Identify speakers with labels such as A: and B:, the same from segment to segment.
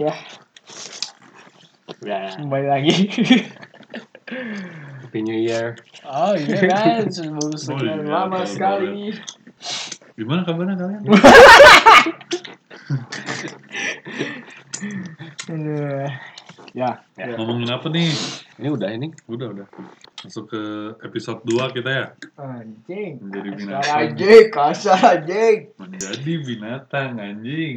A: Ya,
B: Ya,
A: kembali lagi.
B: Happy New Year.
A: oh iya kan, sudah baru
C: Oh,
A: sekian
C: iya,
A: lama
C: tahun
A: sekali.
C: Gimana kabarnya kalian?
A: Aduh. Ya,
B: Ya.
C: Ngomongin apa nih?
B: Ini udah ini.
C: Udah, udah. Masuk ke episode 2 kita ya.
A: anjing.
C: Menjadi
A: Kasar
C: binatang.
A: anjing, kasar anjing.
C: Menjadi binatang, anjing.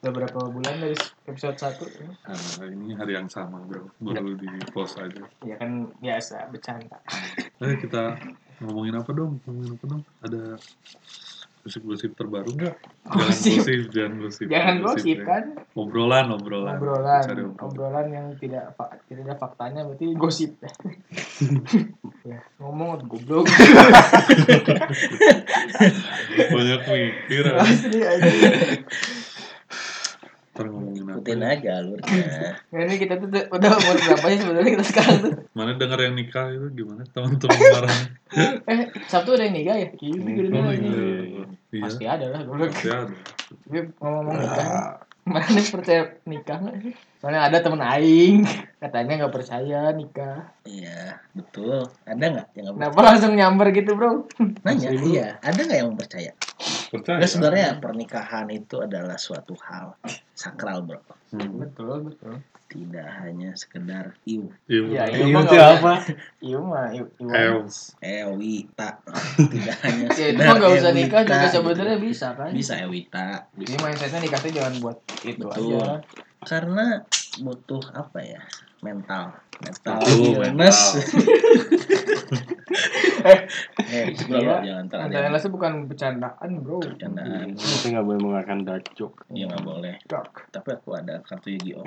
A: Udah berapa bulan dari episode 1?
C: Ah, ini hari yang sama, bro. Baru di post aja.
A: Ya kan biasa, bercanda.
C: Ayo kita ngomongin apa dong? Ngomongin apa dong? Ada gosip-gosip terbaru nggak? Jangan
A: Gosip.
C: gosip, jangan gosip.
A: Jangan gosip
C: ya.
A: kan,
C: Obrolan, obrolan.
A: obrolan,
C: Cari obrolan.
A: obrolan yang tidak fa- tidak ada faktanya berarti gosip. ya, ngomong goblok.
C: Banyak mikir.
A: Asli aja.
C: Ntar ngomongin apa?
D: Ikutin
C: ya?
D: aja alurnya.
A: Nah, ini kita tuh udah- udah umur berapa sih sebenarnya kita sekarang tuh?
C: Mana denger yang nikah itu gimana? Teman-teman marah.
A: Eh, Sabtu ada yang nikah ya? Iya,
B: Hmm,
A: gitu
C: Oh,
A: doang.
C: iya, iya, iya.
A: Pasti ada lah, gue
C: Pasti ada.
A: ngomong nikah. Mana nih percaya nikah nggak sih? Soalnya ada temen aing, katanya nggak percaya nikah.
D: Iya, betul. Ada nggak yang nggak
A: Kenapa langsung nyamber gitu bro?
D: percaya? Nanya, iya. Ada nggak yang percaya?
C: Percaya. ya?
D: Nah, sebenarnya pernikahan itu adalah suatu hal sakral, bro.
C: Hmm.
A: Betul, betul.
D: Tidak hanya sekedar iu,
A: Iya,
C: Iya, Eh,
A: iya,
B: Ini
A: Bang,
B: nanti
A: nggak
B: apa?
A: Iya mah, iya.
D: Eh,
C: Eos.
D: ewita. Tidak hanya
A: Ya itu
D: sekedar
A: mah nggak usah
D: ewita,
A: nikah juga
D: gitu.
A: sebenarnya bisa kan?
D: Bisa ewita.
A: Ini mindsetnya nikahnya jangan buat itu
D: Betul.
A: aja.
D: Karena butuh apa ya? Mental. Mental
C: Betul,
D: illness.
A: Eh,
D: eh, bro,
A: Iya.
D: jangan terlalu.
A: antara lain bukan bercandaan bro.
D: Bercandaan.
B: Kita nggak boleh mengeluarkan dark joke.
D: Iya, nggak boleh.
A: Dark.
D: Tapi aku ada kartu Yu-Gi-Oh.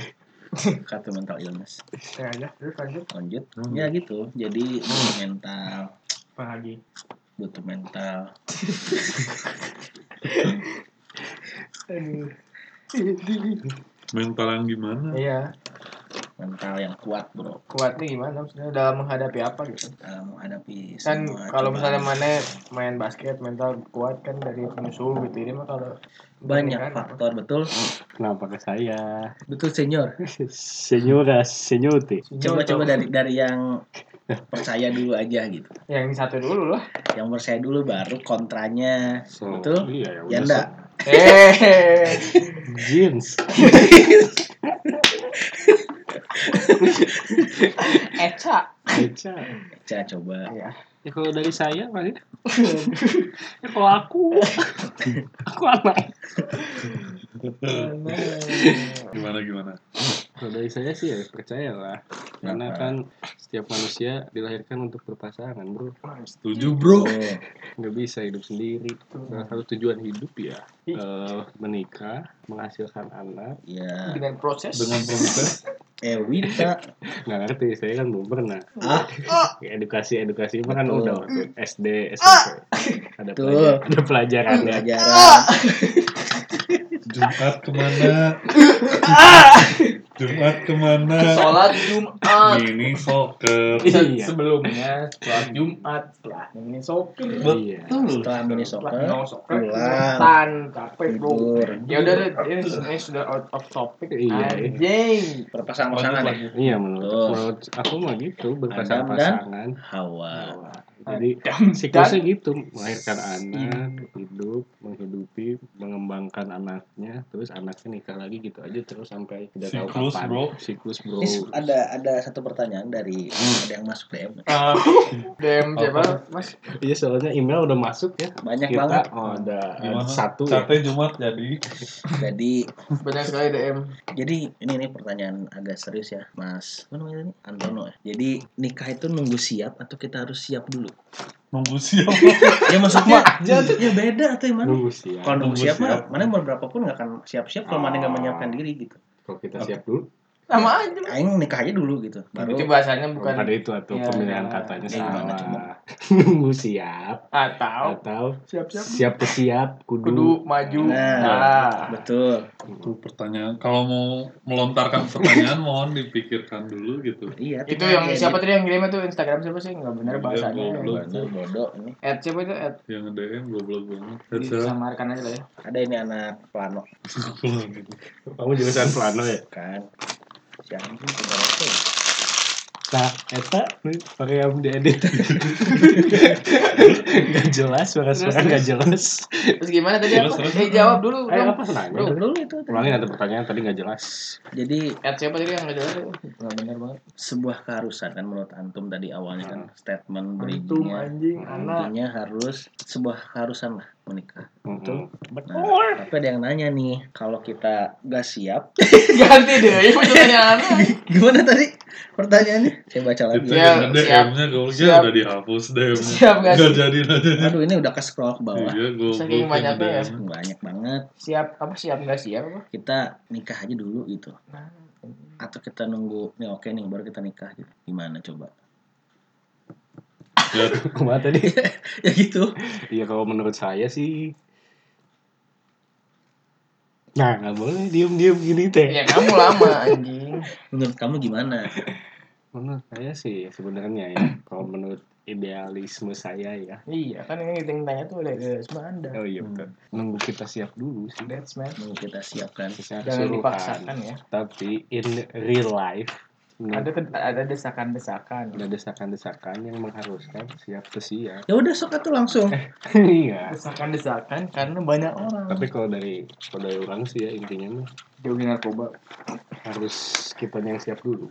D: kartu mental illness.
A: Ya aja, terus lanjut.
D: lanjut
C: Hmm.
D: ya gitu jadi butuh mental
A: Apa lagi?
D: butuh mental
A: Aduh.
C: Mental yang gimana?
A: Iya,
D: mental yang kuat bro
A: kuatnya gimana maksudnya dalam menghadapi apa gitu.
D: dalam menghadapi
A: Kan
D: semua
A: kalau
D: cobaan.
A: misalnya mana main basket mental kuat kan dari musuh gitu ini mah kalau
D: banyak
A: kan,
D: faktor betul
B: Kenapa ke saya?
D: betul senior
B: Senyora, senyote.
A: senior
D: coba coba
A: tuh.
D: dari dari yang percaya dulu aja gitu
A: yang Ya, satu dulu lah.
D: yang percaya dulu baru kontranya
C: So,
D: Betul.
C: Iya, ya
D: ya
C: udah.
D: enggak
A: Eh,
B: Jeans.
A: Eca.
B: Eca.
D: Ca, coba
A: Ya.
B: Ya kalau dari saya pasti. ya kalau aku. aku anak.
C: so. Gimana gimana?
B: Kalau dari saya sih ya percayalah. Karena
D: Kenapa?
B: kan setiap manusia dilahirkan untuk berpasangan bro.
C: Setuju, Bro.
D: Oh,
B: Nggak bisa hidup sendiri. Salah satu tujuan hidup ya. eh, menikah, menghasilkan anak.
D: ya
A: Dengan proses.
C: Dengan proses
D: Ewita
B: Nggak ngerti, saya kan belum pernah.
D: ah
B: edukasi edukasi mah kan udah
D: Betul. Mm. Ah!
B: waktu SD SMP ada
D: Tuh.
B: pelajar, ada pelajarannya
D: pelajaran
C: Jumat kemana? Jumat kemana?
A: Sholat Jumat.
C: Mini soccer.
B: Iya.
A: Sebelumnya sholat Jumat, setelah ini sopir.
B: iya
D: setelah mini soccer pulang.
A: Tan, capek bro.
D: tidur
A: Ya udah deh, ini, ini sudah out of topic.
B: Iya, iya.
A: Anjing.
D: berpasang-pasangan ya
B: iya menurut
D: Tuh.
B: menurut aku mah gitu berpasangan
D: Adam dan Ah.
B: pasangan
D: Hawa
B: jadi siklusnya gitu melahirkan
D: Iya.
B: anak hidup menghidupi mengembangkan anaknya terus anaknya nikah lagi gitu aja terus sampai tidak tahu
C: Siklus,
B: kapan
C: bro.
B: siklus
A: Iya.
B: bro
D: Ini s- ada ada satu pertanyaan dari ada yang masuk DM.
A: Hmm. Ah, DM siapa? Mas,
B: iya soalnya email udah masuk ya
D: Banyak
B: kita
D: banget.
B: oh, ada ada
C: Gimana?
B: satu ya.
C: Sate Jumat jadi.
D: Jadi
A: banyak sekali DM.
D: jadi ini nih pertanyaan agak serius ya, Mas. Apa namanya ini? Antono ya. Jadi nikah itu nunggu siap atau kita harus siap dulu?
C: Nunggu siapa?
D: Ya maksudnya
A: Iya.
D: ya beda atau gimana?
B: nunggu sih ya
D: Kalau nunggu
C: Nunggu
D: siap,
C: siap.
D: mah, mana mau berapapun nggak akan siap-siap kalau mana nggak
B: Ah.
D: menyiapkan diri gitu.
B: kalau kita siap dulu
A: Sama aja.
D: Aing nikah aja dulu gitu. Baru
A: Itu bahasanya bukan
B: Pada itu atau
A: Ya,
B: pemilihan
A: ya.
B: katanya
D: Ya, gimana coba?
B: salah. Nunggu siap
A: atau
B: atau
A: siap-siap
B: siap ke siap kudu.
A: kudu maju.
D: Nah.
A: Nah.
D: betul.
C: Itu pertanyaan. Kalau mau melontarkan pertanyaan mohon dipikirkan dulu gitu.
D: Iya.
A: Itu yang
D: tinggal jadi-
A: siapa tadi yang ngirim itu Instagram siapa sih? Enggak benar
C: Iya,
A: bahasanya.
C: goblok.
D: Bener, bodoh ini.
A: At siapa itu? At
C: Yang nge-DM goblok banget. Headset.
A: disamarkan aja lah ya.
D: Ada ini anak plano
C: gitu.
B: Kamu jurusan plano ya?
D: kan. Si anjing tinggal apa ya?
B: Nah, eta nih, pakai yang diedit. gak jelas, suara-suara
A: Terus,
B: gak jelas.
A: Terus gimana tadi
C: Terus,
A: apa?
C: terus.
A: Eh jawab dulu.
B: Eh,
A: dong.
B: apa nanya?
A: Bro.
D: Dulu itu tadi.
B: Ulangin ada pertanyaan tadi gak jelas.
D: Jadi
A: At siapa tadi yang enggak jelas itu? Enggak benar banget.
D: sebuah keharusan kan menurut antum tadi awalnya kan
C: Nah.
D: statement
A: Antum
D: berikutnya
A: anjing anak.
D: intinya harus sebuah keharusan lah menikah.
B: Betul.
D: Nah, tapi ada yang nanya nih kalau kita gak siap
A: Ganti deh. Ini pertanyaan anak.
D: gimana tadi pertanyaannya? Saya baca lagi.
C: Itu
A: Iya,
C: yang
A: siap.
C: nge-DM-nya goblok. Ya
A: Siap.
C: udah dihapus DM.
A: Siap gak
C: Nggak
A: sih?
C: jadi nggak jadi.
D: Aduh ini udah ke scroll ke bawah.
C: Iya goblok.
A: Saking
C: yang
A: banyaknya ya.
C: nge-DM.
D: Banyak banget.
A: Siap apa siap enggak siap apa?
D: Kita nikah aja dulu gitu.
A: Nah.
D: Atau kita nunggu nih oke nih baru kita nikah gitu. Gimana coba?
C: Ya,
B: Kemana tadi?
D: ya gitu.
B: Iya kalau menurut saya sih Nah, nggak boleh diem-diem gini teh.
A: Ya kamu lama anjing.
D: Menurut kamu gimana?
B: Menurut saya sih sebenarnya ya, kalau menurut idealisme saya ya.
A: Iya kan ini yang tanya tuh oleh Desma Anda.
B: Oh iya betul. Nunggu kita siap dulu sih.
A: That's man.
D: Nunggu kita siapkan.
B: Secara
A: Jangan
B: keseluruhan.
A: dipaksakan ya.
B: Tapi in real life
A: Ada
B: menurut
A: ke- ada desakan-desakan.
B: ada desakan-desakan yang mengharuskan siap ke siap.
D: Ya udah sok tuh langsung.
B: Iya.
A: Desakan-desakan karena banyak
D: Hmm.
A: orang.
B: Tapi kalau dari kalau dari orang sih ya intinya mah
A: jauhin narkoba.
B: harus kita yang siap dulu.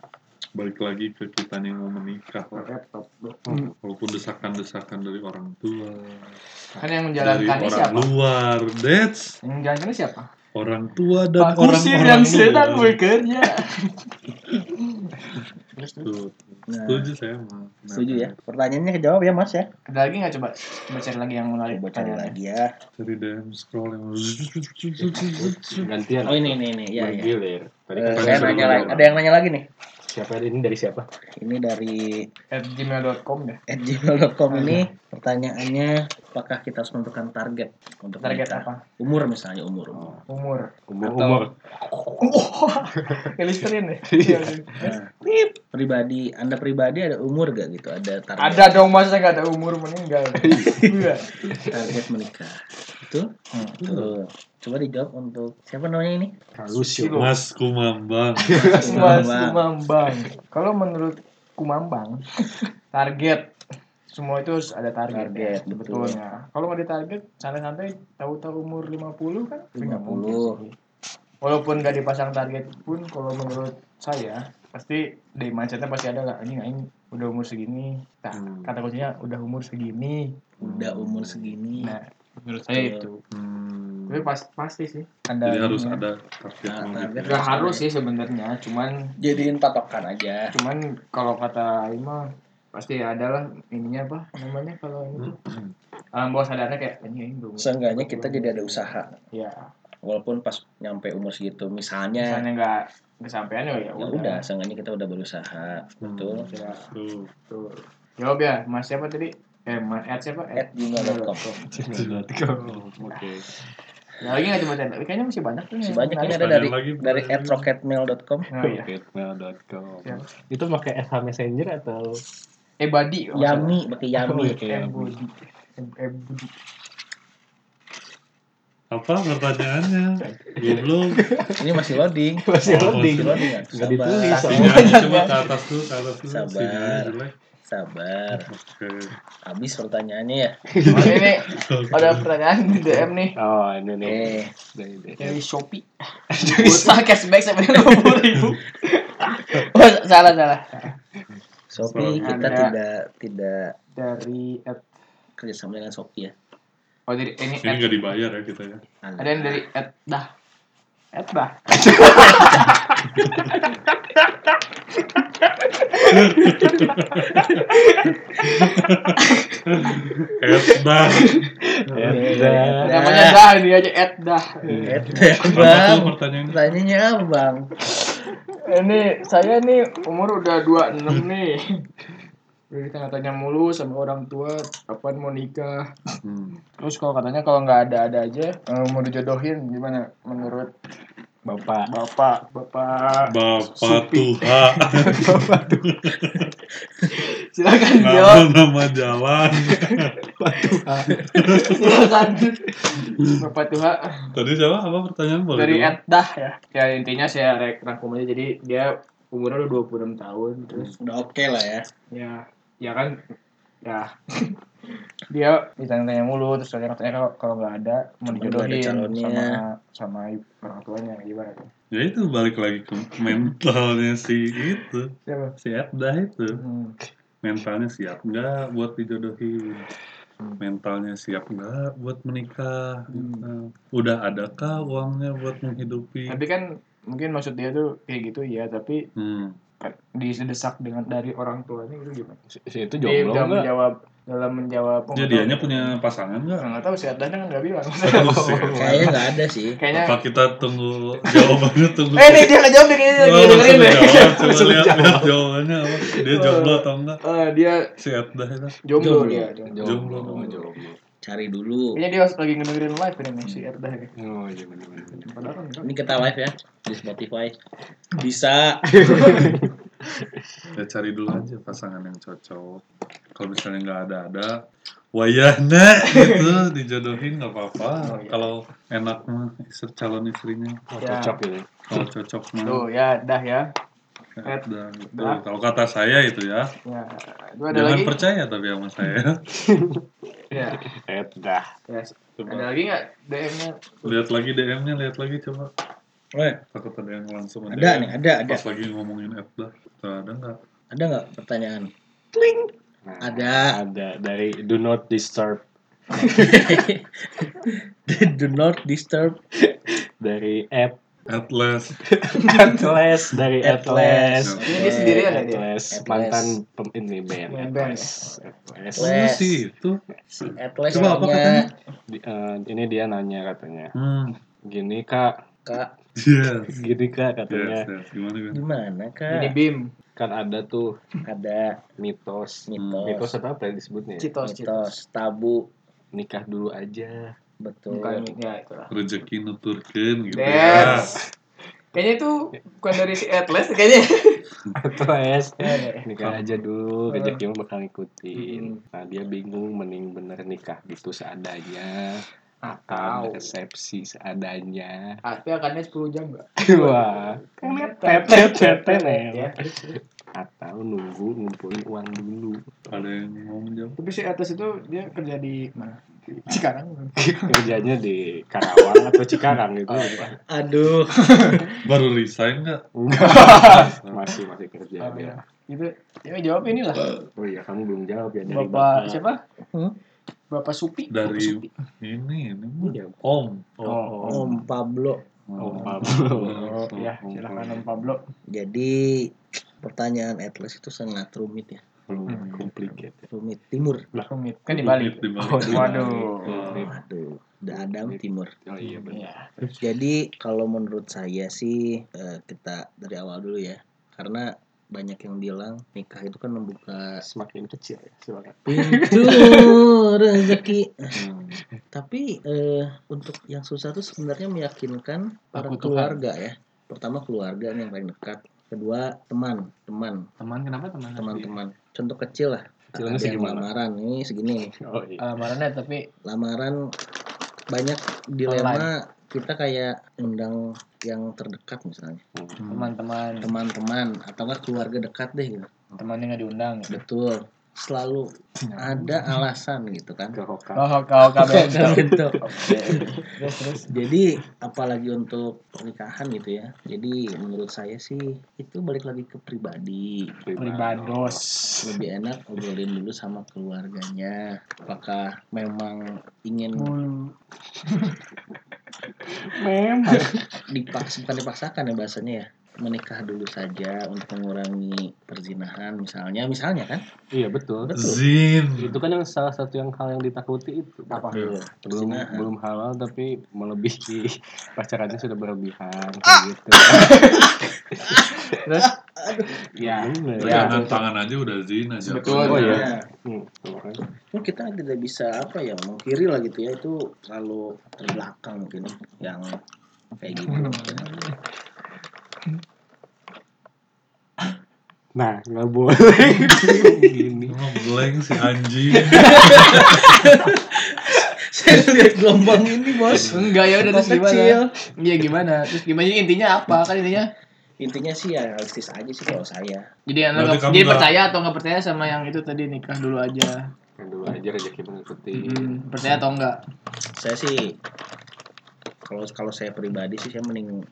C: balik lagi ke kita yang mau menikah. Pak.
A: Laptop. bro.
C: Walaupun desakan-desakan dari orang tua,
A: Kan yang
C: dari
A: menjalankannya
C: orang
A: siapa?
C: luar, that's
A: Yang menjalankannya siapa?
C: orang tua dan
A: Pak Kusir
C: orang-orang
A: yang sedang
C: luar.
A: bekerja. Terus terus.
C: Tuh,
D: Nah,
C: Gitu. Setuju saya mah. Nah,
D: setuju ya. Pertanyaannya kejawab ya Mas ya.
A: Ada lagi nggak coba? Coba cari lagi yang mulai.
D: Coba cari lagi ya.
C: Dari DM scroll yang
B: Gantian.
D: Oh ini ini ini
A: Iya,
D: ya. ya.
B: bergilir. Tadi
D: Eh,
B: kan
D: saya nanya lagi. Ada yang nanya lagi nih.
B: siapa ini dari siapa?
D: Ini dari
A: At gmail.com deh.
D: at gmail.com
A: Ah.
D: ini pertanyaannya apakah kita harus menentukan target untuk
A: Target
D: menikah?
A: apa?
D: umur misalnya umur umur
A: Umur.
B: Umur
D: Atau-
B: umur.
A: Kelisterin deh.
C: Iya.
A: Iya,
D: Nah, pribadi anda pribadi ada umur gak gitu ada target
A: Ada dong masa nggak ada umur meninggal. Iya.
D: target menikah itu
A: Hmm.
D: Tuh. coba dijawab untuk siapa namanya ini
B: Halusio.
C: Mas Kumambang.
A: Mas
C: Iya.
D: Kumambang.
A: Kumambang. Kalau menurut Kumambang, target semua itu harus ada target,
D: Target,
A: ya,
D: betul.
A: sebetulnya. Kalau nggak ada target, santai-santai tahu-tahu umur 50 kan itu nggak
D: 50.
A: mungkin sih. Walaupun nggak dipasang target pun kalau menurut saya pasti dari mindsetnya pasti ada lah ini aing udah umur segini nah,
B: Hmm.
A: kata kuncinya udah umur segini
D: udah umur segini
A: nah menurut saya ya. itu
C: Hmm,
A: tapi pas pasti sih ada
C: Jadi harus
A: ininya.
C: ada target.
D: Nah,
C: mau gitu.
D: target.
A: nggak harus sih sebenarnya cuman
D: jadiin patokan aja
A: cuman kalau kata Ima pasti adalah ininya apa namanya kalau ini tuh
C: Hmm.
A: alam bawah sadarnya kayak ini ini belum
D: seenggaknya kita jadi ada usaha
A: ya
D: walaupun pas nyampe umur segitu misalnya
A: misalnya nggak kesampaian ya ya
D: ya udah seenggaknya kita udah berusaha betul
A: Ya,
C: Tuh,
A: betul. jawab ya mas siapa tadi eh mas at siapa Ed
D: at
A: Iya.
D: gmail.com
B: Oke.
A: ya lagi nggak coba tanda kayaknya masih banyak tuh
D: si
A: yang
D: banyak ini
A: Iya, menarik.
D: ada dari
C: Lagi,
D: dari
C: lagi.
D: at rocketmail.com
A: oh, iya. Ya.
B: Hotmail.com.
A: Siap.
B: Itu pakai SH Messenger atau
A: eh badi kalau nggak salah.
D: Yami, pakai Yami.
B: Oke,
A: eh
B: Yami.
A: budi Eh, eh budi
C: Apa pertanyaannya? Goblok.
D: Ini masih loading.
B: Masih
C: Oh,
B: loading.
D: Masih loading ya?
B: Nggak ditulis.
C: Sini aja, coba ke atas dulu, ke atas dulu.
D: Sabar.
C: Sinyalnya jelek.
D: Sabar.
C: Oke.
D: Habis pertanyaannya ya.
A: Mas, ini ada pertanyaan di DM nih
B: Oh, ini nih. Eh,
D: Oke.
B: Dari- dari-
A: dari Shopee Bursa cashback sampai dua puluh ribu oh salah salah
D: Shopee
C: Sabar.
D: kita
A: Ada.
D: tidak tidak
A: dari at
D: kerjasama dengan Shopee ya.
A: oh dari ini
C: Ini
A: at,
C: nggak dibayar ya kita ya.
D: Alah.
A: ada yang dari at dah at dah
C: Eh, Edbang.
A: Eh.
B: Edda.
A: namanya dah ini aja at dah
D: Eh,
C: Apa tuh
D: Bang.
C: pertanyaannya?
D: Pertanyaannya apa, Bang?
A: ini saya nih umur udah 26 nih. Jadi tanya-tanya mulu sama orang tua, kapan mau nikah.
C: Hmm.
A: Terus kalau katanya kalau nggak ada-ada aja, eh, mau dijodohin gimana menurut
B: Bapak.
A: bapak? Bapak,
C: Bapak
A: Supi.
C: Tuhan,
A: bapak tuh. Silakan
C: nama
A: jawab,
C: nama jalan.
A: silakan. Bapak Tuhan
C: Tadi siapa? Apa pertanyaan boleh?
A: dari
C: diulang?
A: Etdah ya. Ya intinya saya rek- rangkum aja jadi dia umurnya udah 26 tahun terus
D: Udah oke lah ya.
A: ya ya kan ya dia ditanya-tanya mulu terus katanya katanya kalau kalau nggak ada mau
D: Cuma
A: dijodohin
D: nggak ada calonnya.
A: sama sama i- orang tuanya gimana tuh
C: Ya itu balik lagi ke mentalnya si itu,
A: siapa
C: si Edda itu.
A: hmm.
C: Mentalnya siap nggak buat dijodohin? Mentalnya siap nggak buat menikah? Eh,
A: Hmm.
C: Udah adakah uangnya buat menghidupi?
A: tapi kan mungkin maksud dia tuh kayak gitu ya tapi
C: Hmm.
A: kan disedesak dengan dari orang tuanya gitu gimana
B: Si, si itu
A: dia
B: Iya, jomblo
A: dalam
B: nggak?
A: menjawab dalam menjawab
C: Jadi dianya punya pasangan nggak?
A: nggak tahu sih Adnan kan nggak bilang
C: Aduh, sih.
D: Kayaknya nggak ada sih.
A: kayaknya
C: Apa kita tunggu jawabannya tunggu?
A: eh nih dia ya. nggak jawab nih kayaknya lagi
C: Oh,
A: dengerin
C: sudah
A: deh
C: jawab, coba
A: Langsung
C: lihat,
A: jawab.
C: lihat jawabannya apa. Dia jomblo atau enggak?
A: Eh, dia
C: Si Edda itu.
A: jomblo
D: Jomblo.
A: dia jomblo.
B: Jomblo,
C: Jomblo.
B: jomblo.
D: Cari dulu.
A: kayaknya dia lagi ngedengerin live ini nih si Erdah ini.
B: Oh, iya benar-benar.
A: padahal kan
D: Ini kita live ya di Spotify. Bisa.
C: Ya cari dulu aja pasangan yang cocok. Kalau misalnya nggak ada ada, wayahna gitu dijodohin nggak apa-apa.
A: Oh, iya.
C: Kalau enak mah istri calon istrinya,
B: Oh,
A: Ya.
B: cocok gitu.
C: kalau cocok mah
A: Tuh ya, dah ya.
C: ya
A: Ed.
C: udah gitu. Kalau kata saya itu ya,
A: Ya, itu ada
C: jangan
A: lagi. Hmm.
C: percaya tapi sama saya.
A: Ya,
B: Eh, dah.
A: ya. Ada
C: Coba
A: lagi nggak DM-nya?
C: lihat lagi DM-nya, lihat lagi coba. Weh, takut ada yang langsung
D: Ada nih, ada, ada.
C: Pas lagi ngomongin Edda, ada nggak?
D: Ada nggak pertanyaan?
B: Nah,
D: Ada.
B: Ada dari do not disturb
D: Do not disturb.
B: dari at
C: Atlas.
B: Atlas dari Atlas.
D: Atlas.
A: Ini dia sendiri ya? ada dia.
B: Atlas
D: Atlas.
B: mantan pem ini band
A: Main band,
B: Atlas. Atlas.
D: Atlas.
C: Oh, sih itu.
D: Si Atlas
C: Coba apa
D: nanya,
C: katanya?
B: Di- eh, ini dia nanya katanya.
C: Hmm.
B: Gini kak,
D: Kak,
C: Yes.
B: gini kak
C: Yes,
B: katanya
C: yes. Gimana gimana?
D: gimana
A: Ini
D: kak?
A: Bim,
B: kan ada tuh
D: Ada
B: mitos. Mitos
D: mitos,
B: apa ya disebutnya? ya?
A: Citos, Citos.
D: mitos, tabu,
B: Nikah dulu aja.
D: betul.
A: Bukan ya itulah.
C: rezeki nuturkeun gitu ya.
A: Yes. Kayaknya itu bukan dari si Atlas kayaknya.
B: Atlas.
A: Ya, ya, ya.
B: Nikah aja dulu,
A: Hmm.
B: rezeki mah bakal ngikutin. Nah dia bingung, mending bener nikah gitu seadanya. Atau
A: Atau
B: resepsi seadanya.
A: Ah, tapi akannya 10 jam enggak?
B: Wah.
A: Tetet, tetet, ya.
B: tetet. Atau nunggu ngumpulin uang dulu.
C: Ada yang mau menjawab?
A: Tapi si Atlas itu dia kerja di mana? Sekarang.
B: Kerjanya di Karawang atau Cikarang
A: Oh,
B: gitu.
A: iya.
D: Aduh,
C: Baru resign nggak?
B: Enggak. masih masih kerja
A: Oh,
B: dia.
A: iya. Itu ya jawab inilah.
B: Oh iya kamu belum jawab ya dari
A: Bapak siapa?
D: Hmm?
A: Bapak Supi. Bapak
C: Dari
A: Supi.
C: ini ini
B: Iya.
C: Om. Oh,
A: Oh,
D: Om Pablo.
B: Om Pablo.
A: Oh, ya,
C: Om
A: silakan Om Pablo.
D: Jadi pertanyaan Atlas itu sangat rumit ya,
B: Belum complicated.
D: rumit timur.
A: Rumit. Kan di Bali.
C: Rumit di Bali.
B: Oh, di Bali.
A: Waduh.
D: Aduh, udah Adam timur.
B: Oh iya benar.
A: Iya.
D: Jadi kalau menurut saya sih eh, kita dari awal dulu ya, karena banyak yang bilang nikah itu kan membuka
B: Semakin kecil ya silakan.
D: pintu rezeki. Hmm. Tapi eh, untuk yang susah tuh sebenarnya meyakinkan para
A: Aku Tuhan.
D: keluarga ya. Pertama keluarga nih yang paling dekat. Kedua teman, teman,
A: Teman kenapa teman?
D: teman-teman. Contoh kecil lah.
B: Kecilannya
D: Ada yang
B: segimana?
D: Lamaran ini segini.
B: Oh iya.
A: Lamarannya Eh, tapi
D: Lamaran banyak dilema kita kayak undang yang terdekat misalnya
B: Hmm.
A: Hmm. teman-teman
D: teman-teman atau nggak keluarga dekat deh gitu.
A: temannya nggak diundang. Gitu.
D: betul selalu ada alasan gitu kan
B: Ke Hoka.
A: Oh, kau kau
D: Gitu.
A: Terus terus.
D: Jadi apalagi untuk pernikahan gitu ya. Jadi menurut saya sih itu balik lagi ke pribadi.
A: Pribados.
D: Lebih enak obrolin dulu sama keluarganya. Apakah memang ingin
B: Memang.
D: dipaksa bukan dipaksakan ya bahasanya ya. Menikah dulu saja untuk mengurangi perzinahan misalnya, misalnya kan?
B: Iya betul.
C: Hmm. Zin.
B: Itu kan yang salah satu yang hal yang ditakuti itu. Iya.
A: Apa?
D: Tuh,
B: Belum
D: Perzinahan.
B: belum halal tapi melebihi pacarannya sudah berlebihan kayak gitu.
A: Ya.
C: Iya.
B: Bener.
A: Ya.
C: Pegangan tangan aja udah zina jatuh.
A: Betul.
B: Oh, iya.
D: Nah,
A: ya.
B: Hmm, makanya.
D: Mungkin kita tidak bisa apa ya mengkiri lah gitu ya itu terlalu terbelakang mungkin ya, yang kayak gitu.
A: Hmm.
B: Nah, nggak boleh
A: Iya.
B: gini.
C: Lu ngeblank si anjing.
D: Saya lihat gelombang ini bos.
A: Enggak ya udah terus
D: Kecil.
A: gimana? Iya gimana? Terus gimana Jadi intinya apa kan intinya?
D: Intinya sih ya realistis aja sih kalau saya.
A: Jadi anak
C: Berarti kamu
A: jadi
C: nggak-
A: percaya atau nggak percaya sama yang itu tadi nikah dulu aja.
B: Yang dulu aja rezeki mengikuti.
A: Hmm, percaya atau enggak?
D: Saya sih kalau kalau saya pribadi sih saya mending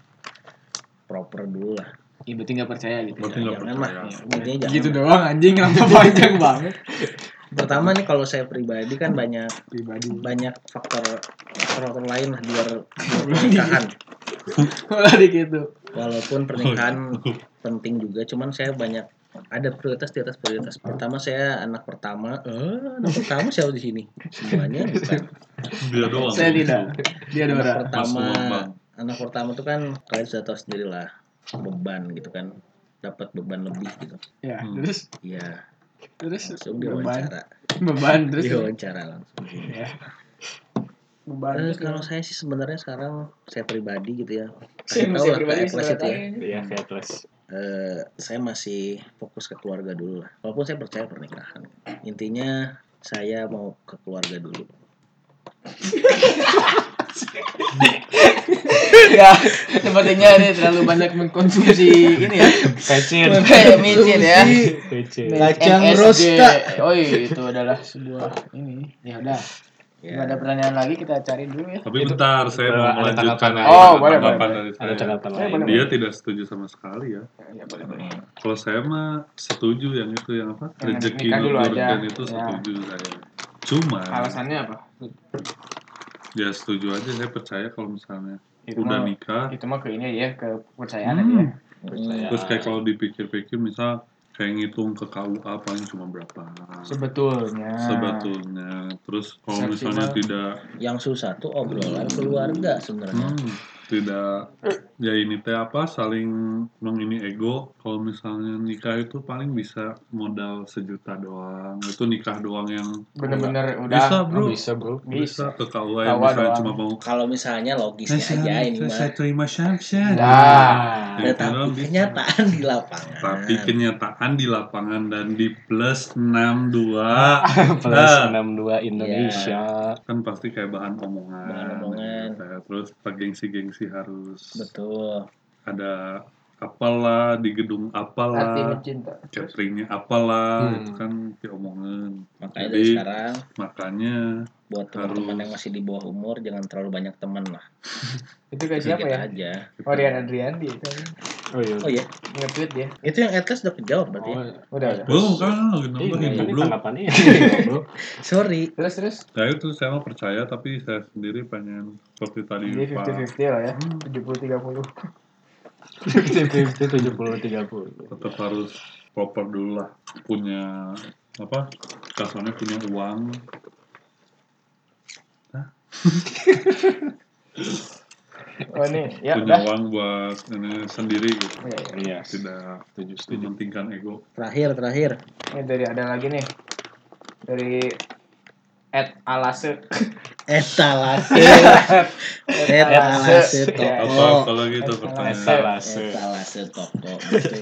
D: proper dulu lah.
A: Iya berarti nggak percaya gitu.
C: Berarti nggak
D: Jangan lah.
C: percaya.
D: Intinya jangan.
A: Gitu doang anjing lama panjang banget.
D: Pertama nih kalau saya pribadi kan banyak
A: Pribadi.
D: banyak faktor faktor lain lah di luar di luar pernikahan.
A: Malah gitu.
D: Walaupun
C: Oh,
D: pernikahan penting juga, cuman saya banyak ada prioritas di atas prioritas.
A: Ah.
D: Pertama saya anak pertama. Eh, anak pertama siapa di sini? Semuanya bukan.
C: Dia doang.
A: Saya tidak. Dia
D: Anak
A: Dora.
D: pertama,
C: Mas Bambang.
D: anak pertama tuh kan kalian sudah tahu sendiri lah beban gitu kan dapat beban lebih gitu.
A: Ya,
C: Hmm.
A: terus
D: Iya,
A: terus
D: langsung Iya,
A: beban
D: diwawancara,
A: beban terus
D: diwawancara langsung.
A: ya. Beban
D: Eh,
A: terus
D: kalau saya sih sebenarnya sekarang saya pribadi gitu ya.
A: saya
D: Kasih tahu
A: masih
D: lah ke
A: pribadi
D: Atlas itu ya.
A: sebenarnya.
B: Iya, kayak terus.
D: eh, saya masih fokus ke keluarga dulu lah. Walaupun saya percaya pernikahan. Intinya saya mau ke keluarga dulu.
A: ya sepertinya ini terlalu banyak mengkonsumsi ini ya
B: Kecil.
A: kayak micin ya
B: Kecil.
D: Kacang
A: MSG.
D: rosta.
A: oh itu adalah sebuah ini ya udah nggak ada pertanyaan lagi kita cari dulu ya
C: Tapi bentar,
B: Ada
C: saya mau
B: tanggapan
C: melanjutkan
B: lain.
A: Oh, boleh,
C: tanggapan
A: boleh.
C: dari
B: Ada
C: saya.
B: catatan
A: Eh,
B: lain.
A: boleh,
C: Dia tidak setuju sama sekali ya.
A: ya boleh boleh
C: Kalau saya mah setuju yang itu yang apa?
A: Yang
C: Rezeki
A: nikah dulu
C: ngeblur
A: aja.
C: dan itu
A: Ya.
C: setuju saya. Cuma
A: alasannya apa
C: ya setuju aja saya percaya kalau misalnya
A: itu
C: udah
A: mah
C: nikah
A: itu mah ke ini ya ke percayaan
C: Hmm.
A: aja ya
B: Percaya.
C: terus kayak kalau dipikir-pikir misal kayak ngitung ke KUA paling cuma berapa
A: sebetulnya
C: sebetulnya terus kalau
A: Maksimal.
C: misalnya tidak
D: Yang susah tuh obrolan keluarga sebenarnya.
C: Hmm, tidak ya ini teh apa saling mengini ego kalau misalnya nikah itu paling bisa modal sejuta doang itu nikah doang yang
A: bener-bener udah
C: bisa bro
B: Bisa, Bro.
C: bisa ke KUA yang
A: KUA
C: misalnya
A: doang.
C: cuma mau
D: Kalau misalnya
C: "Eh,
D: logisnya
C: Syam,
D: aja ini
C: saya, saya
D: mah.
C: terima Syamsyah
A: Nah.
D: Nah, tapi kenyataan di lapangan.
C: tapi kenyataan di lapangan dan di plus 62
B: Plus
C: Ah.
B: 62 Indonesia.
C: kan pasti kayak bahan omongan,
D: Bahan omongan.
C: Kayak terus gengsi-gengsi harus
D: Betul.
C: ada apalah di gedung
A: hati
C: apalah
A: mencinta Terus,
C: cateringnya apalah
B: Hmm.
C: itu kan diomongan
D: Makanya dari
C: Jadi-
D: sekarang
C: makanya
D: buat teman-teman
C: Harus.
D: yang masih di bawah umur jangan terlalu banyak teman lah.
A: itu kayak siapa
D: Sedikit
A: ya
D: aja.
C: kita-
A: Oh Rian Adriandi itu
B: Oh iya.
D: Oh iya,
A: nge-tweet dia
D: itu yang Atlas udah kejawab berarti. ya?
B: Oh,
A: udah udah
C: belum kan lagi nambahin
B: ini
C: belum
B: tanggapannya.
D: Sorry.
A: terus terus
C: nah itu saya mah percaya tapi saya sendiri pengen seperti tadi
A: jadi
C: Pak
A: 50-50 lah ya 70-30
B: 50 70 30.
C: tetap harus proper dulu lah punya apa kasarnya punya uang
A: oh ini ya
C: punya
A: udah
C: uang buat ini sendiri gitu
A: Ya, ya.
B: Iya,
C: tidak
B: setuju setuju.
C: mementingkan ego
D: Terakhir, terakhir.
A: Ini dari ada lagi nih dari at alase
D: Eh, Etalase.
A: Etalase.
D: Etalase
A: Ya,
C: apa
D: toko.
C: kalau gitu pertanyaan
D: Eh,
B: Salase.
D: Etalase toko.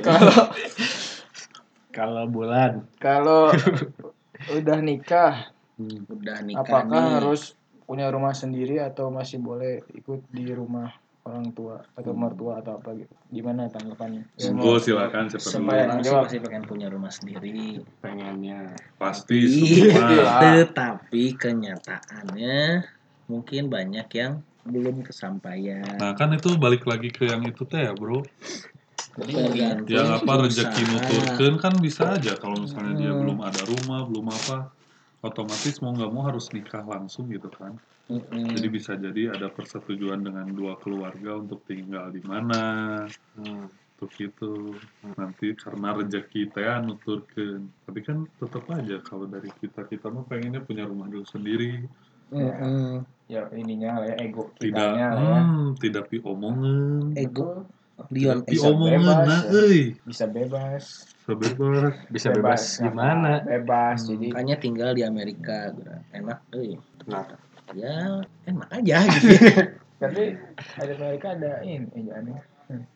A: kalau
B: Kalau bulan
A: kalau udah nikah
C: Hmm.
D: Udah nikah
A: apakah
D: nih.
A: harus punya rumah sendiri atau masih boleh ikut di rumah orang tua atau mertua atau apa gitu gimana tanggapannya
C: monggo silakan siapa dulu
A: Semua.
D: semua
A: ya.
D: orang sih
A: Jawab.
D: pasti pengen punya rumah sendiri.
B: pengennya
C: pasti
A: Iya.
C: semua
D: Tetapi kenyataannya mungkin banyak yang belum kesampaian.
C: nah kan itu balik lagi ke yang itu teh ya bro
D: Tergantung
C: yang
A: Iya,
C: apa rezeki
D: usaha.
C: nuturkeun kan bisa aja kalau misalnya dia
A: Hmm.
C: belum ada rumah belum apa otomatis mau nggak mau harus nikah langsung gitu kan
D: Mm-mm.
A: Hmm.
C: jadi bisa jadi ada persetujuan dengan dua keluarga untuk tinggal di mana
B: hmm,
C: untuk itu
A: Hmm.
C: nanti karena rezeki teh nuturkeun tapi kan tetap aja kalau dari kita kita mah pengennya punya rumah dulu sendiri
D: Mm-mm.
A: ya ininya lah ya ego
C: tidak
A: kitanya lah ya Eh,
C: hmm, tidak diomongan
D: Ego Dion
A: Bisa
C: diomongan
A: bebas,
C: nah
A: ya.
C: euy
A: bisa bebas
C: sebebas
B: Bisa
A: Bebas,
B: bebas,
A: ya.
B: gimana?
A: bebas jadi
D: Makanya tinggal di Amerika, Bro. enak, eh,
B: Nah,
D: ya enak aja gitu. ya.
A: tapi ada mereka ada ini eh, jangan ya.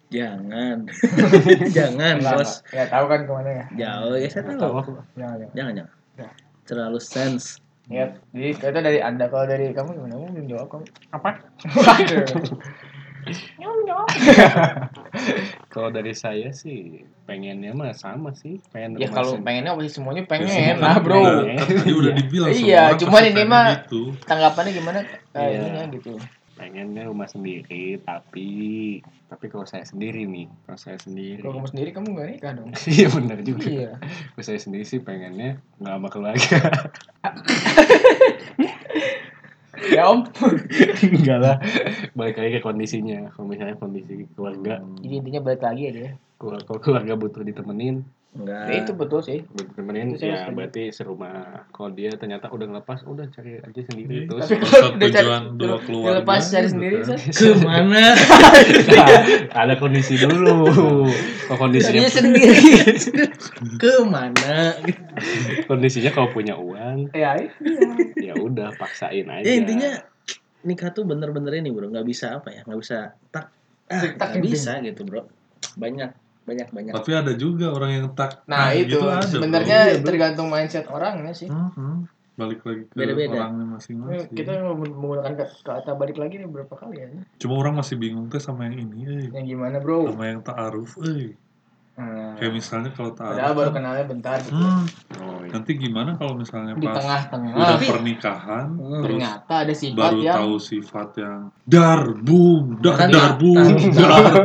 D: jangan, jangan
A: Enggak,
D: bos,
A: enggak. ya tahu kan kemana ya
D: jauh ya saya
B: tahu
D: tahu.
B: aku.
A: jangan jangan
D: Jangan jangan,
A: Nah.
D: terlalu sense.
A: ya jadi itu dari anda kalau dari kamu gimana kamu belum jawab kamu apa
B: Kalau dari saya sih pengennya mah sama sih. Pengen
A: ya
B: rumah
A: kalau
B: sendiri.
A: pengennya pasti semuanya
C: Ya,
B: Iya,
A: pengen lah
B: pengen.
A: bro
B: Iya.
C: Kan tadi udah dibilang
A: Iya,
C: semua orang
A: cuman
C: pasti
A: ini
C: pengen
A: mah-
C: gitu.
A: tanggapannya gimana
B: Iya.
A: eh, ininya gitu
B: pengennya rumah sendiri tapi tapi kalau saya sendiri nih kalau saya sendiri
A: kalau kamu sendiri kamu gak nikah dong
B: iya benar juga
A: iya
B: kalau saya sendiri sih pengennya nggak sama keluarga
A: ya om
B: enggak lah balik lagi ke kondisinya kalau misalnya kondisi keluarga
C: Hmm.
A: jadi intinya balik lagi aja ya
B: kalau kalau keluarga butuh ditemenin
D: Enggak.
A: Ya, itu betul sih
B: butuh ditemenin
A: Itu saya
B: ya
A: setuju.
B: berarti serumah kalau dia ternyata udah ngelepas udah cari aja sendiri
C: Iya.
B: terus
A: tapi
C: Pusat
A: kalau udah cari
C: tujuan dua keluarga,
A: lepas cari
C: gitu
A: sendiri
C: kan.
A: Sas.
D: Kemana?
B: Nah, ada kondisi dulu kalau
D: Tadinya
B: kondisinya
D: sendiri. Kemana?
B: kondisinya kalau punya uang
A: ya itu
B: ya udah paksain
A: Iya.
B: aja
D: Ya intinya nikah tuh bener-bener ini bro, nggak bisa apa ya, nggak bisa tak, ah,
A: Tak
D: nggak
A: gitu.
D: bisa gitu bro. Banyak, banyak, banyak.
C: tapi ada juga orang yang tak
A: nah itu
C: gitu ada, bro.
A: sebenarnya tergantung mindset orangnya sih
C: Mhm. balik lagi ke
D: Beda-beda.
C: orangnya
A: Eh,
C: masing-masing
A: kita menggunakan kata balik lagi nih berapa kali ya
C: cuma orang masih bingung teh sama yang ini euy.
A: yang gimana bro
C: sama yang ta'aruf euy.
A: nah,
C: Iya. kayak misalnya kalau ta'aruf
A: padahal baru
C: kan,
A: kenalnya bentar gitu ya.
C: hmm,
B: Oh, iya.
C: nanti gimana kalau misalnya
A: di
C: pas
A: tengah-tengah
C: udah
D: Tapi-
C: pernikahan
D: Hmm,
C: terus
A: ternyata ada sifat
C: baru
A: yang
C: tahu sifat yang darbum dar
D: Kan
C: darbum
D: tak- tak-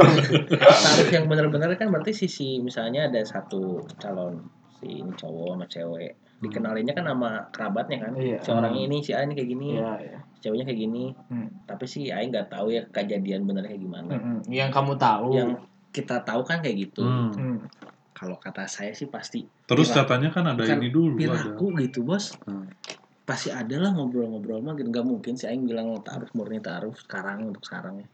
C: dar
D: Tarif yang bener-bener kan berarti sisi misalnya ada satu calon si ini cowok sama cewek dikenalinnya kan sama kerabatnya kan
A: Hmm. Iya.
D: si orang ini si A ini kayak gini
A: Iya, iya.
D: si ceweknya kayak gini
A: Hmm.
D: tapi si A nggak tahu ya kejadian benernya kayak gimana
A: Mm-mm. Hmm, yang kamu tahu
D: yang kita tahu kan kayak gitu
C: Hmm.
A: Hmm.
D: kalau kata saya sih pasti
C: terus
D: Piraku.
C: katanya kan ada
D: Kan
C: ini dulu ada
D: piraku gitu bos
C: Hmm.
D: pasti ada lah ngobrol-ngobrol mah gitu nggak mungkin si Aing bilang taruh murni taruh sekarang untuk sekarang ya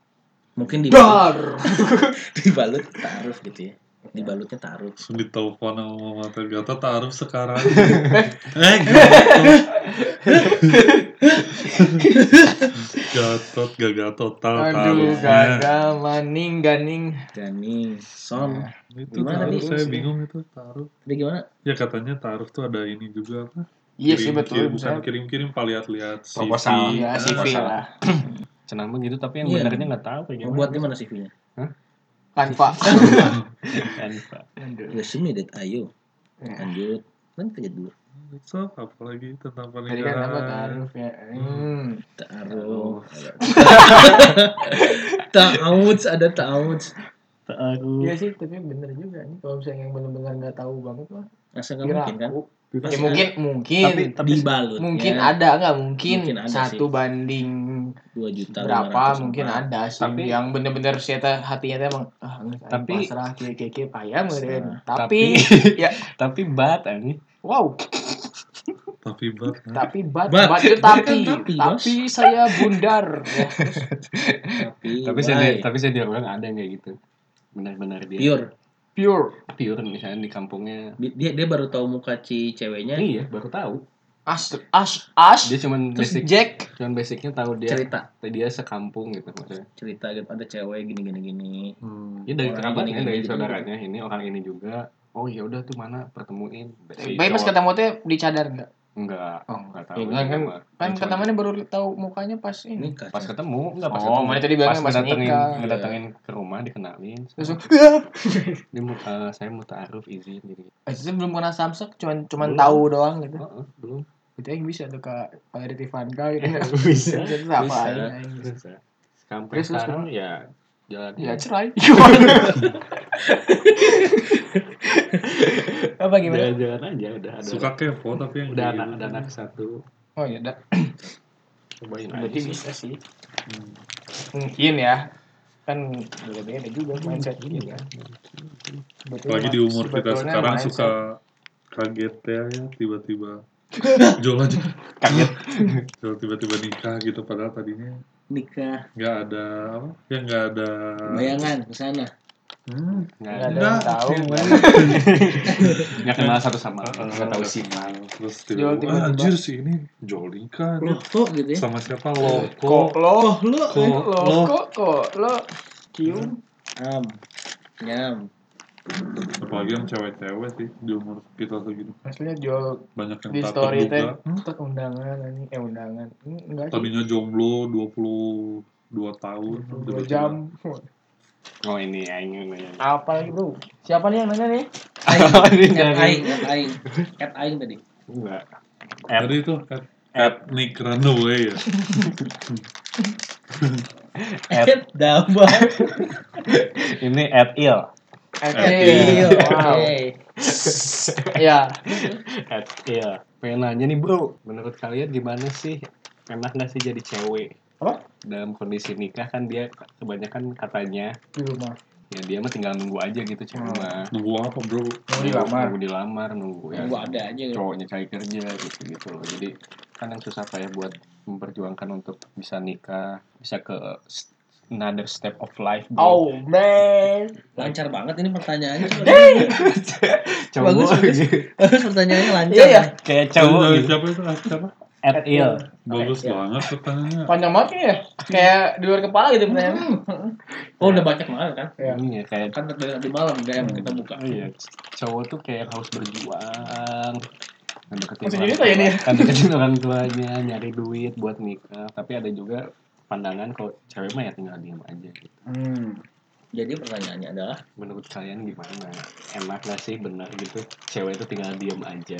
D: mungkin dibalut,
A: dar
D: dibalut taruh gitu ya dibalutnya taruh
C: langsung ditelepon sama mama teh gata taruh sekarang eh
A: gitu.
C: gatot gatot gak gatot tal
A: aduh
C: taruhnya
A: gagal maning ganing
D: Gani son
A: ya.
C: Ya, itu
D: Gimana
C: taruh
D: nih?
C: saya bingung itu taruh
D: jadi gimana
C: ya katanya taruh tuh ada ini juga apa
A: iya sih
C: Kirim-
A: betul
C: kirim- ya, bukan
A: misalnya-
C: kirim-kirim pak lihat-lihat CV.
B: Proposal.
A: iya
C: Ah,
A: CV
B: Proposal.
A: lah
B: senang begitu tapi yang
D: Iya.
B: benernya nggak tahu kayak
D: buat gimana CV-nya
A: kan pak
B: kan Pak.
D: resume that ayo
A: Ya.
D: lanjut kan kerja dulu
C: so apalagi tentang
A: Tadi kan apa kan?
C: pernikahan
A: Ya, hmm.
D: taruh
A: Ya,
D: taud ada taud
B: Taruh.
A: Iya sih, tapi bener juga nih kalau misalnya yang benar-benar nggak tahu banget mah.
D: rasa nggak
A: Kira
D: mungkin kan
A: aku.
D: Pasti
A: Ya, mungkin mungkin
B: Tapi- tapi-
D: dibalut
A: mungkin ada nggak mungkin,
D: ya. Mungkin ada
A: satu banding
D: dua juta
A: berapa
D: 500
A: mungkin
D: orang.
A: ada sih
B: Tapi-
A: yang bener-bener sieta hatinya teh emang ah, nggak, aing
B: Tapi-
A: pasrah kayak kayak kayak payah meureun. Tapi
B: Tapi-
A: ya
B: tapi bat eh, ini
A: wow,
C: tapi bat
A: tapi bat,
D: Bat.
A: bat itu
D: Kan
A: tapi
D: tapi,
A: tapi,
D: Bos.
A: saya bundar. Ya, terus
D: tapi
B: tapi
D: bye.
B: saya tapi saya dia orang ada yang kayak gitu benar-benar dia
D: pure
A: pure.
B: pure misalnya di kampungnya
D: Di- dia dia baru tahu muka si
A: Ya,
D: ceweknya
B: iya baru tahu
A: As as as
B: dia cuman
A: terus
B: basic
A: Jack
B: cuman basicnya tahu dia
D: cerita
B: dia sekampung gitu maksudnya
D: cerita gitu ada cewek gini gini gini
A: Hmm.
B: ya dari
D: Orang
A: kan
B: kerabatnya
D: ini,
B: dari
A: gitu
D: ini,
B: saudaranya ini orang ini juga oh ya udah tuh mana pertemuin Si
A: Baik pas
B: cowok-
A: ketemu teh dicadar nggak?
B: enggak
A: Oh,
B: enggak
A: ya,
B: tahu
A: kan- kan-
B: Cuma-
A: Kan
B: cuman-
A: ketemuannya baru tahu mukanya pas ini.
D: nikah
B: pas ketemu enggak pas
A: Oh,
B: ketemu
A: makanya tadi bilangnya pas
B: ngedatengin
A: nikah. Iya.
B: ngedatengin ke rumah dikenalin
A: Langsung, "Iya."
B: Ini mau- eh, saya mau taaruf izin gitu.
A: "Ah, itu belum pernah samsak, cuman cuman
B: Belum.
A: tahu doang gitu.
B: Oh, oh, belum.
A: Itu yang bisa tuh Kak Pak Riti Vanka gitu.
B: Bisa.
A: Itu apa
D: Bisa.
A: aja yang bisa.
B: Bisa. Sampai
A: Terus, terus,
B: sekarang ya jalan
A: Ya cerai. Gimana? apa gimana?
B: jalan aja udah ada.
C: suka kepo tapi yang
B: udah
C: kayak
B: anak
C: gitu.
B: ada anak satu.
A: Oh ya, da-
B: Cobain aja.
A: berarti
B: sih.
A: bisa sih.
C: Hmm.
A: Mungkin ya. Kan beda-beda juga mindset gitu ya. Betul,
C: apalagi di
A: Mas.
C: umur kita
A: Iya, Sebetulnya
C: sekarang
A: mindset.
C: suka kaget ya ya, tiba-tiba jual aja
B: Kaget.
C: Jual tiba-tiba nikah gitu padahal tadinya
D: nikah
C: nggak ada apa ya nggak ada
D: bayangan ke sana
C: Hmm,
B: nggak
A: Nggak
B: ada.
A: ada yang
C: enggak,
A: tahu.
B: nggak kenal satu sama lain nggak tahu
C: Ah, Nggak.
B: siman
C: Terus
A: Jual
C: tiba-tiba, "Ah,
A: tiba-tiba.
C: anjir sih ini Jolika dia.
D: Loko gitu ya.
C: Sama siapa?
A: Kok
C: Loko.
A: lo?
D: Oh, lo.
C: Eh, Kok
A: Eh, Lo
C: lo.
A: kok kok lo cium?
D: Am. Nyam.
C: Apalagi yang cewek-cewek sih di umur kita segitu.
A: Maksudnya jual
C: Banyak yang
A: di
C: tak
A: story teh
C: terduga. Hmm?
A: "Tet, undangan ini eh undangan Hmm, enggak sih
C: Tadinya jomblo 22 tahun.
A: dua
C: tiba-tiba-
A: jam Wah,
B: oh ini aing ini
A: apa lagi bro siapa nih yang nanya nih
D: Aing.
B: Ini
D: At
B: dari-
D: aing, at aing. At aing tadi.
B: enggak
C: Tadi itu at, at Nick Runaway ya.
B: At.
D: At Daba.
B: ini at il
A: Eh, iya. Akil
D: Iya,
A: wow
D: Oke.
A: ya
B: at il Iya. pengen nanya nih bro menurut kalian gimana sih enak nggak sih jadi cewek
A: Apa?
B: dalam kondisi nikah kan dia kebanyakan katanya
A: di rumah
B: ya dia mah tinggal nunggu aja gitu cuma
A: Hmm.
C: Nunggu apa bro?
A: mau dilamar
B: nunggu dilamar nunggu ya
D: Gua ada aja.
B: cowoknya cari kerja gitu gitu loh jadi kan yang susah payah buat memperjuangkan untuk bisa nikah bisa ke s- another step of life bro.
A: oh man
D: Lancar banget ini pertanyaannya.
B: cowok
D: Bagus, bagus.
B: gitu.
D: Terus pertanyaannya lancar.
A: Iya, iya.
D: ya.
B: kayak
C: Tadi
B: cowok
C: dari
B: gitu.
C: siapa itu? At siapa?
B: at ill
C: Bagus
A: iya.
D: Oke, ya.
C: banget pertanyaannya.
A: Eh, panjang banget kayaknya ya kayak di luar kepala gitu pertanyaan
D: Oh, udah banyak banget kan?
A: Iya.
B: iya kayak
D: Kan tadi nanti malam DM kita buka.
B: iya cowok tuh kayak harus berjuang Kan deketin
A: Masih
B: orang
A: gitu ya
B: tua-
A: dia?
B: kan deketin orang tuanya nyari duit buat nikah tapi ada juga pandangan kalau cewek mah ya tinggal diam aja gitu.
A: hmm.
D: Jadi pertanyaannya adalah
B: menurut kalian gimana enak gak sih benar gitu cewek itu tinggal diem aja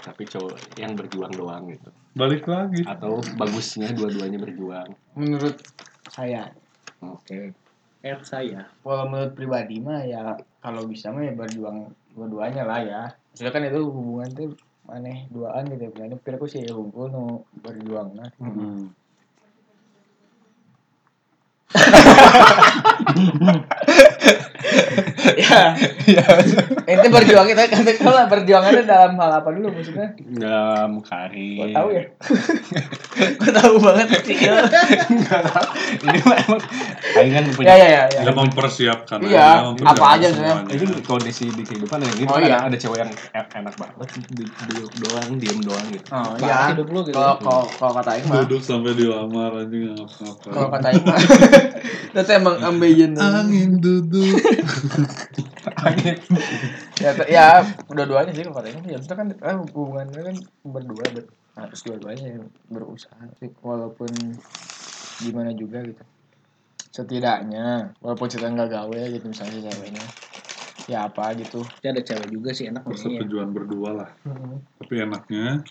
B: tapi cowok yang berjuang doang gitu
C: Balik lagi.
B: atau bagusnya dua-duanya berjuang
A: menurut saya
B: oke
D: at saya.
A: kalau menurut pribadi mah ya kalau bisa mah ya berjuang dua-duanya lah ya maksudnya kan itu hubungan tuh aneh duaan gitu ya Makanya kira sih hukum nu berjuang nah
C: Hmm.
A: ya itu berjuang itu kan kalau berjuangannya dalam hal apa dulu maksudnya
B: nggak mukari
A: gua tahu ya gua tahu banget kecil
B: ini mah emang Aing kan punya
A: ya ya ya, ya.
C: Dia mempersiapkan
A: Iya,
C: aja, mempersiapkan
A: apa aja sebenarnya.
C: semuanya.
B: ini kondisi di kehidupan yang gitu
A: Oh,
B: kan
A: iya.
B: ada cewek yang e- enak banget di- di- doang diem doang gitu
A: oh
D: Banget
A: ya
D: hidup lu gitu.
A: kalau kalau kalau kata Aing mah
C: Duduk sampai dilamar anjing nggak ngapa-ngapain.
A: kalau kata Aing mah itu emang ambeien
C: Angin duduk.
A: Iya. ya, t- ya udah duanya sih kalau katanya ya maksudnya kan eh, hubungannya kan berdua ber harus dua-duanya ya, berusaha sih walaupun gimana juga gitu setidaknya walaupun kita nggak gawe gitu misalnya ceweknya ya apa gitu
D: Tapi ada cewek juga sih enak maksudnya.
C: Persetujuan berdua lah. Tapi enaknya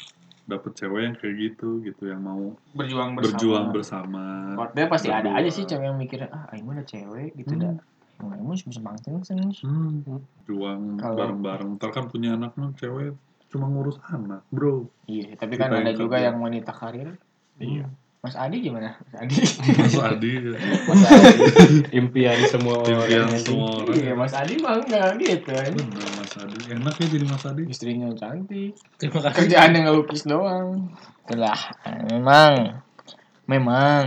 C: dapet cewek yang kayak gitu gitu yang mau
A: berjuang
C: berjuang bersama.
A: Maksudnya pasti ada
C: Berdua.
A: aja sih cewek yang mikirnya ah aing mana cewek gitu
C: Hmm.
A: dah Nah, aing mah bisa mangsen
C: Hmm, juang
A: Kalau-
C: bareng-bareng. Ntar kan punya anak mah cewek cuma ngurus anak, bro.
A: Iya, tapi kan
C: Kita yang
A: ada juga
C: kerja.
A: yang wanita karir.
B: iya
A: Mas Adi gimana? Mas Adi.
C: Mas Adi, ya.
B: Mas Ari, impian semua orang
C: impian
B: anjing.
C: semua
A: iya,
C: orang.
A: Mas Adi mah enggak gitu. anjing.
C: Bener, Mas Adi. Enak ya jadi Mas Adi.
A: Istrinya cantik.
D: Terima kasih.
A: kerjaan yang ngelukis doang itulah memang memang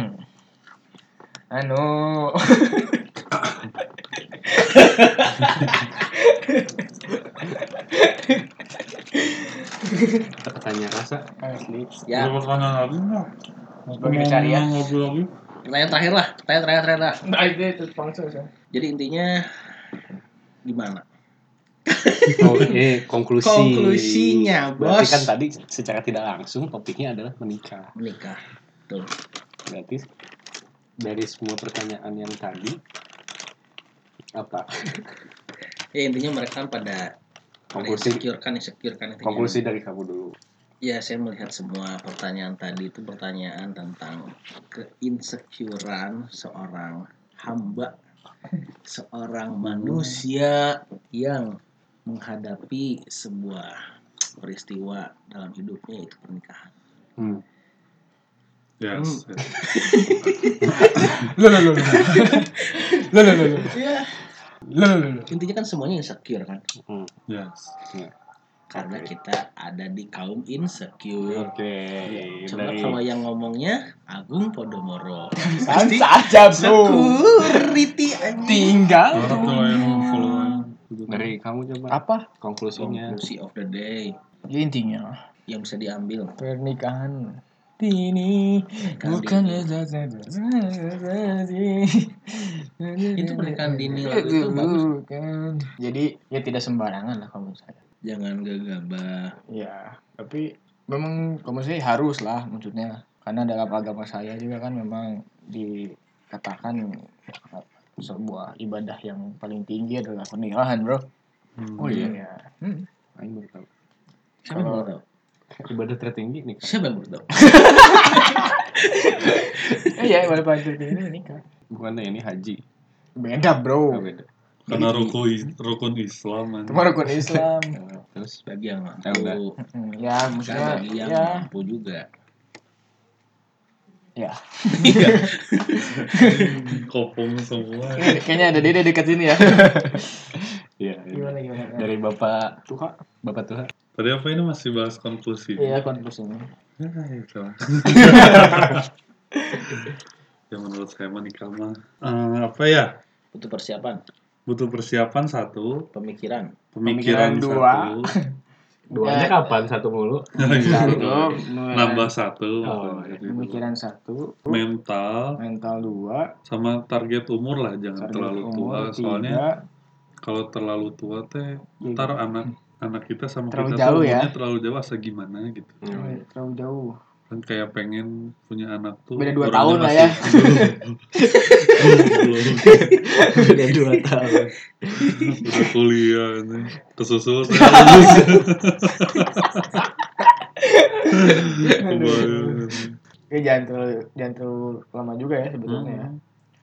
A: anu
B: Kita tanya rasa
A: asli
D: Ya,
C: Ada pertanyaan lagi nggak? Aku
A: Sebagai
C: mau
A: cari ya.
C: ngobrol lagi.
D: pertanyaan terakhir lah. Pertanyaan terakhir, terakhir lah.
A: nah itu itu langsung sih
D: Jadi intinya gimana?
B: oh, eh, konklusi
D: Konklusinya,
B: berarti
D: bos.
B: kan tadi secara tidak langsung topiknya adalah menikah
D: Menikah. Tuh.
B: Berarti dari semua pertanyaan yang tadi apa
D: Ya intinya mereka kan pada pada
B: konklusi
D: insecure kan insecure kan intinya.
B: konklusi dari kamu dulu
D: Ya saya melihat semua pertanyaan tadi itu pertanyaan tentang keinsecurean seorang hamba, seorang manusia yang menghadapi sebuah peristiwa dalam hidupnya itu pernikahan.
B: Hmm.
C: Yes. yes.
A: lo lo lo lo lo lo lo
D: Ya
A: lo lo
B: Hmm.
D: intinya kan semuanya insecure kan.
C: Yes.
D: karena kita ada di kaum insecure.
B: Oke.
D: Coba
B: Dari
D: kalau yang ngomongnya Agung Podomoro.
A: saja bro
D: Security anjing.
A: tinggal
C: Orang tuh yang follow yang
A: gitu.
B: dari kamu coba
A: apa
B: konklusinya.
D: Konklusi of the day
A: ya, intinya
D: yang bisa diambil.
A: pernikahan ini bukan itu Iya,
D: Itu pernikahan dini lagu itu bagus.
A: bukan jadi ya tidak sembarangan lah kalau menurut saya
D: Jangan gegabah.
A: Ya, tapi memang kalau saya harus lah maksudnya. Karena dalam agama saya juga kan memang dikatakan sebuah ibadah yang paling tinggi adalah pernikahan, bro.
C: hmm.
B: Oh iya.
A: Ya. Hmm.
B: Aing baru tahu.
D: Siapa yang
A: Kalau-
D: mau tahu?
B: Ibadah tertinggi nih.
D: Siapa yang mau tahu?
A: Iya, ibadah paling tinggi ini nikah.
B: Bukannya ini haji.
A: Beda,
B: Oh,
A: bro.
B: beda.
C: karena rukun is- rukun Islam man.
A: Cuma rukun Islam.
B: Nah, Terus
D: Bagi yang
B: Ya udah.
D: mampu.
A: Hmm, ya,
D: Kita
A: maksudnya
D: bagi yang
A: ya,
D: mampu juga.
A: ya.
C: kopong semua
A: Ini kayaknya ada dede dekat sini ya.
B: ya,
A: Gimana gimana?
B: dari Bapak Tuha, Bapak Tuha.
C: tadi apa ini masih bahas konklusi
A: Iya, konklusinya.
C: Ah, itu lah. ya menurut saya mah nikah mah eh, apa ya
D: Butuh persiapan,
C: butuh persiapan satu
D: pemikiran.
A: Pemikiran
C: pemikiran,
A: dua.
C: satu
B: Duanya
A: Ya. Oh,
B: kapan satu mulu?
A: Satu,
C: nambah satu
B: Oh,
C: gitu.
A: pemikiran satu,
C: mental
A: mental dua,
C: sama target umur lah jangan
A: target
C: terlalu
A: umur
C: tua soalnya
A: tiga,
C: kalau terlalu tua teh
A: Iya.
C: ntar anak anak kita sama
A: Terlalu
C: kita
A: jauh
C: tuh
A: ya.
C: umurnya terlalu jauh asa gimana gitu
A: Oh, terlalu jauh.
C: kan kayak pengen punya anak tuh
A: Beda dua
C: orangnya
A: tahun lah ya.
C: masih- belum
D: Udah dua tahun.
C: udah kuliah nih kesusul Kebayang.
A: Ya, jangan terlalu jangan terlalu lama juga ya sebetulnya ya.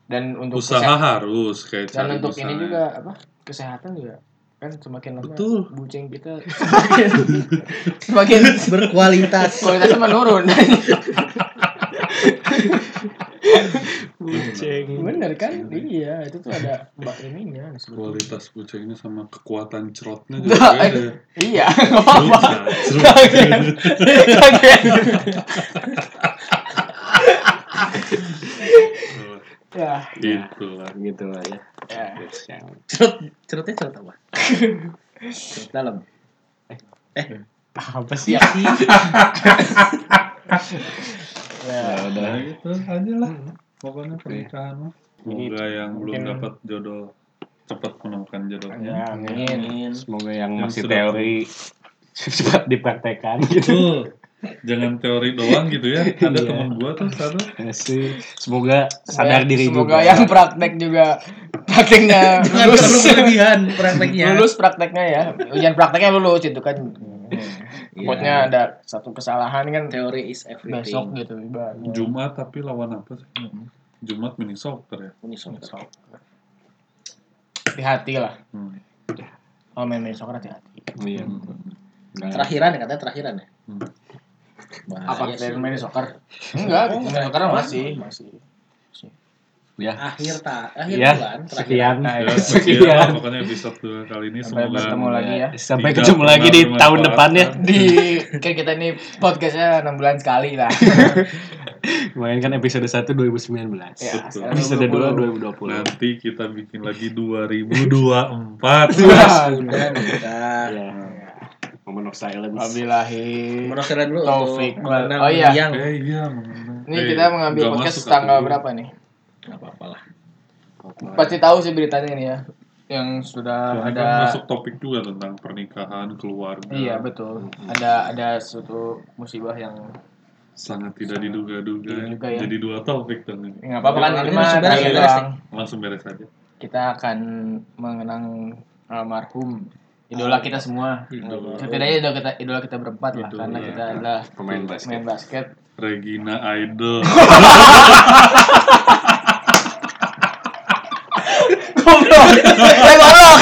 A: Dan untuk
C: Hmm. usaha
A: kesehatan
C: harus kayak
A: dan
C: cari
A: untuk ini
C: misalnya.
A: juga apa? Kesehatan juga kan semakin lama
C: Betul.
A: bucing kita semakin semakin
D: Berkualitas.
A: kualitasnya menurun.
B: Kucing.
A: Bener kan? Iya, itu tuh ada mbak ininya sebetulnya.
C: kualitas kucingnya sama kekuatan trotnya juga
A: Nah,
C: beda.
A: Iya, nggak apa-apa.
C: Cerut,
A: Kaget. Kaget.
C: cerut.
A: Ya,
C: gitu lah
B: Gitu lah ya.
A: ya.
B: Terus yang
D: Cerut, cerutnya cerut apa? Cerut dalam.
A: Apa sih?
D: Iya sih.
A: Ya.
B: ya udah.
C: gitu aja lah pokoknya pernikahan mah semoga yang belum
A: mungkin-
C: dapat jodoh cepat menemukan jodohnya
A: Ya, amin.
B: Semoga yang
C: Yang
B: masih
C: sudah-
B: teori cepat dipraktekkan gitu.
C: Betul. jangan teori doang gitu ya ada
B: Iya.
C: teman gua tuh satu
B: Ya sih. Semoga sadar
A: Ya,
B: diri
A: semoga
B: juga.
A: yang praktek juga prakteknya
D: Jangan
A: lulus
D: terlalu berlebihan prakteknya.
A: lulus prakteknya ya ujian prakteknya lulus itu kan
D: Iya.
A: buatnya ada satu kesalahan kan
D: Teori is everything.
A: besok gitu ibaratnya.
C: Jumat tapi lawan apa sih
A: Mm.
C: Jumat mini soccer ya
D: Unison.
A: Besok. hati-hati lah
C: hmm.
A: kalau main besok hati-hati
B: Iya. Nggak-
D: Terakhiran ya, katanya terakhiran ya.
C: Hmm.
D: Bahaya
A: apa
D: Nah, iya sih.
A: dari main soccer enggak
D: Oh,
A: main soccer
D: enggak.
A: masih masih
B: Ya.
D: Akhir ta, akhir
A: Iya.
B: Ya,
D: bulan. terakhiran.
B: sekian.
A: Nah,
C: ya,
A: ya.
C: sekian
B: Sekian.
C: lah pokoknya episode dua kali ini
A: Sampai
C: semoga
A: bertemu lagi ya
B: Sampai
C: Tidak
B: ketemu lagi di
C: pernah
B: tahun
C: bermanfaat.
B: depannya.
A: di kan kita ini podcastnya enam bulan sekali lah
B: Mainkan episode
A: ya,
B: 1 2019.
C: Betul.
A: sekarang
B: Episode 2
A: 2020.
B: 2020.
C: nanti kita bikin lagi 2024
A: Ya.
D: Udah nikah.
B: Ya. Moment of silence.
A: Wabillahi
D: Menoseran dulu
A: Taufik.
D: untuk mengenang
A: Oh, iya.
D: yang
C: eh iya mengenai.
A: Ini
C: Eh,
A: kita mengambil
C: nggak
A: podcast
C: masuk
A: tanggal
C: aku.
A: berapa nih?
D: Gak apa-apa lah.
A: Pasti tahu sih beritanya ini ya. Yang sudah
C: Karena
A: ada
C: kan masuk topik juga tentang pernikahan keluarga
A: Iya, betul. Ada ada suatu musibah yang
C: sangat tidak diduga-duga
A: Iya juga ya.
C: jadi dua topik dong ini
A: enggak apa-apa kan ini
D: Ini
A: mah
D: langsung
A: dari
D: beres,
A: doang.
C: langsung beres aja
A: Kita akan mengenang almarhum idola kita semua. Nah,
C: Idola.
A: Setidaknya Ah, idola iya. kita idola kita berempat lah
C: Idola.
A: karena kita adalah
B: Pemain basket.
A: pemain basket.
C: Regina Idol
A: Goblok. Eh, goblok.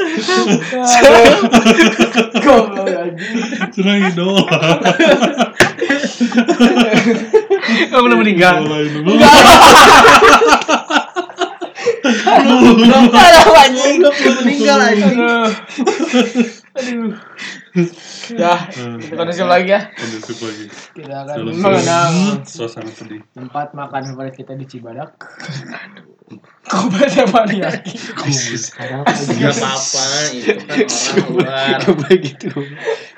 A: Aduh. Goblok anjing.
C: Cina idola
B: Kamu belum meninggal.
C: Idol dulu
D: Belum tahu anjing. Belum meninggal anjing.
A: Aduh. Aduh. Ya, kita kondusif lagi ya.
C: Kondusif lagi.
A: Kita akan
C: Dalam
A: mengenang
C: suasana sedih.
A: tempat makan favorit kita di Cibadak. Kobe Tepaniyaki.
D: Enggak apa-apa, itu kan orang luar.
B: gitu.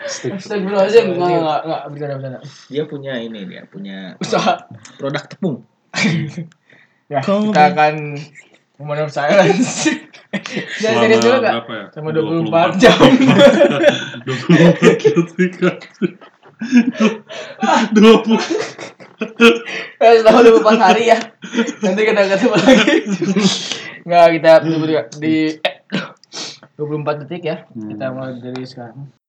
A: Astagfirullahaladzim. Enggak, enggak, enggak. Bercanda, bercanda.
D: Dia punya ini dia punya
A: Usaha.
D: produk tepung.
A: Ya,
D: Kobe.
A: kita akan memanam silence. Jangan serius dulu enggak?
C: berapa ya?
A: Sama 24 jam.
C: 24 ketika.
A: Ah.
C: 20.
A: Eh, selama 24 hari ya. Nanti kita ketemu lagi. Enggak, kita betul-betul di eh, 24 detik ya. Kita mulai dari sekarang.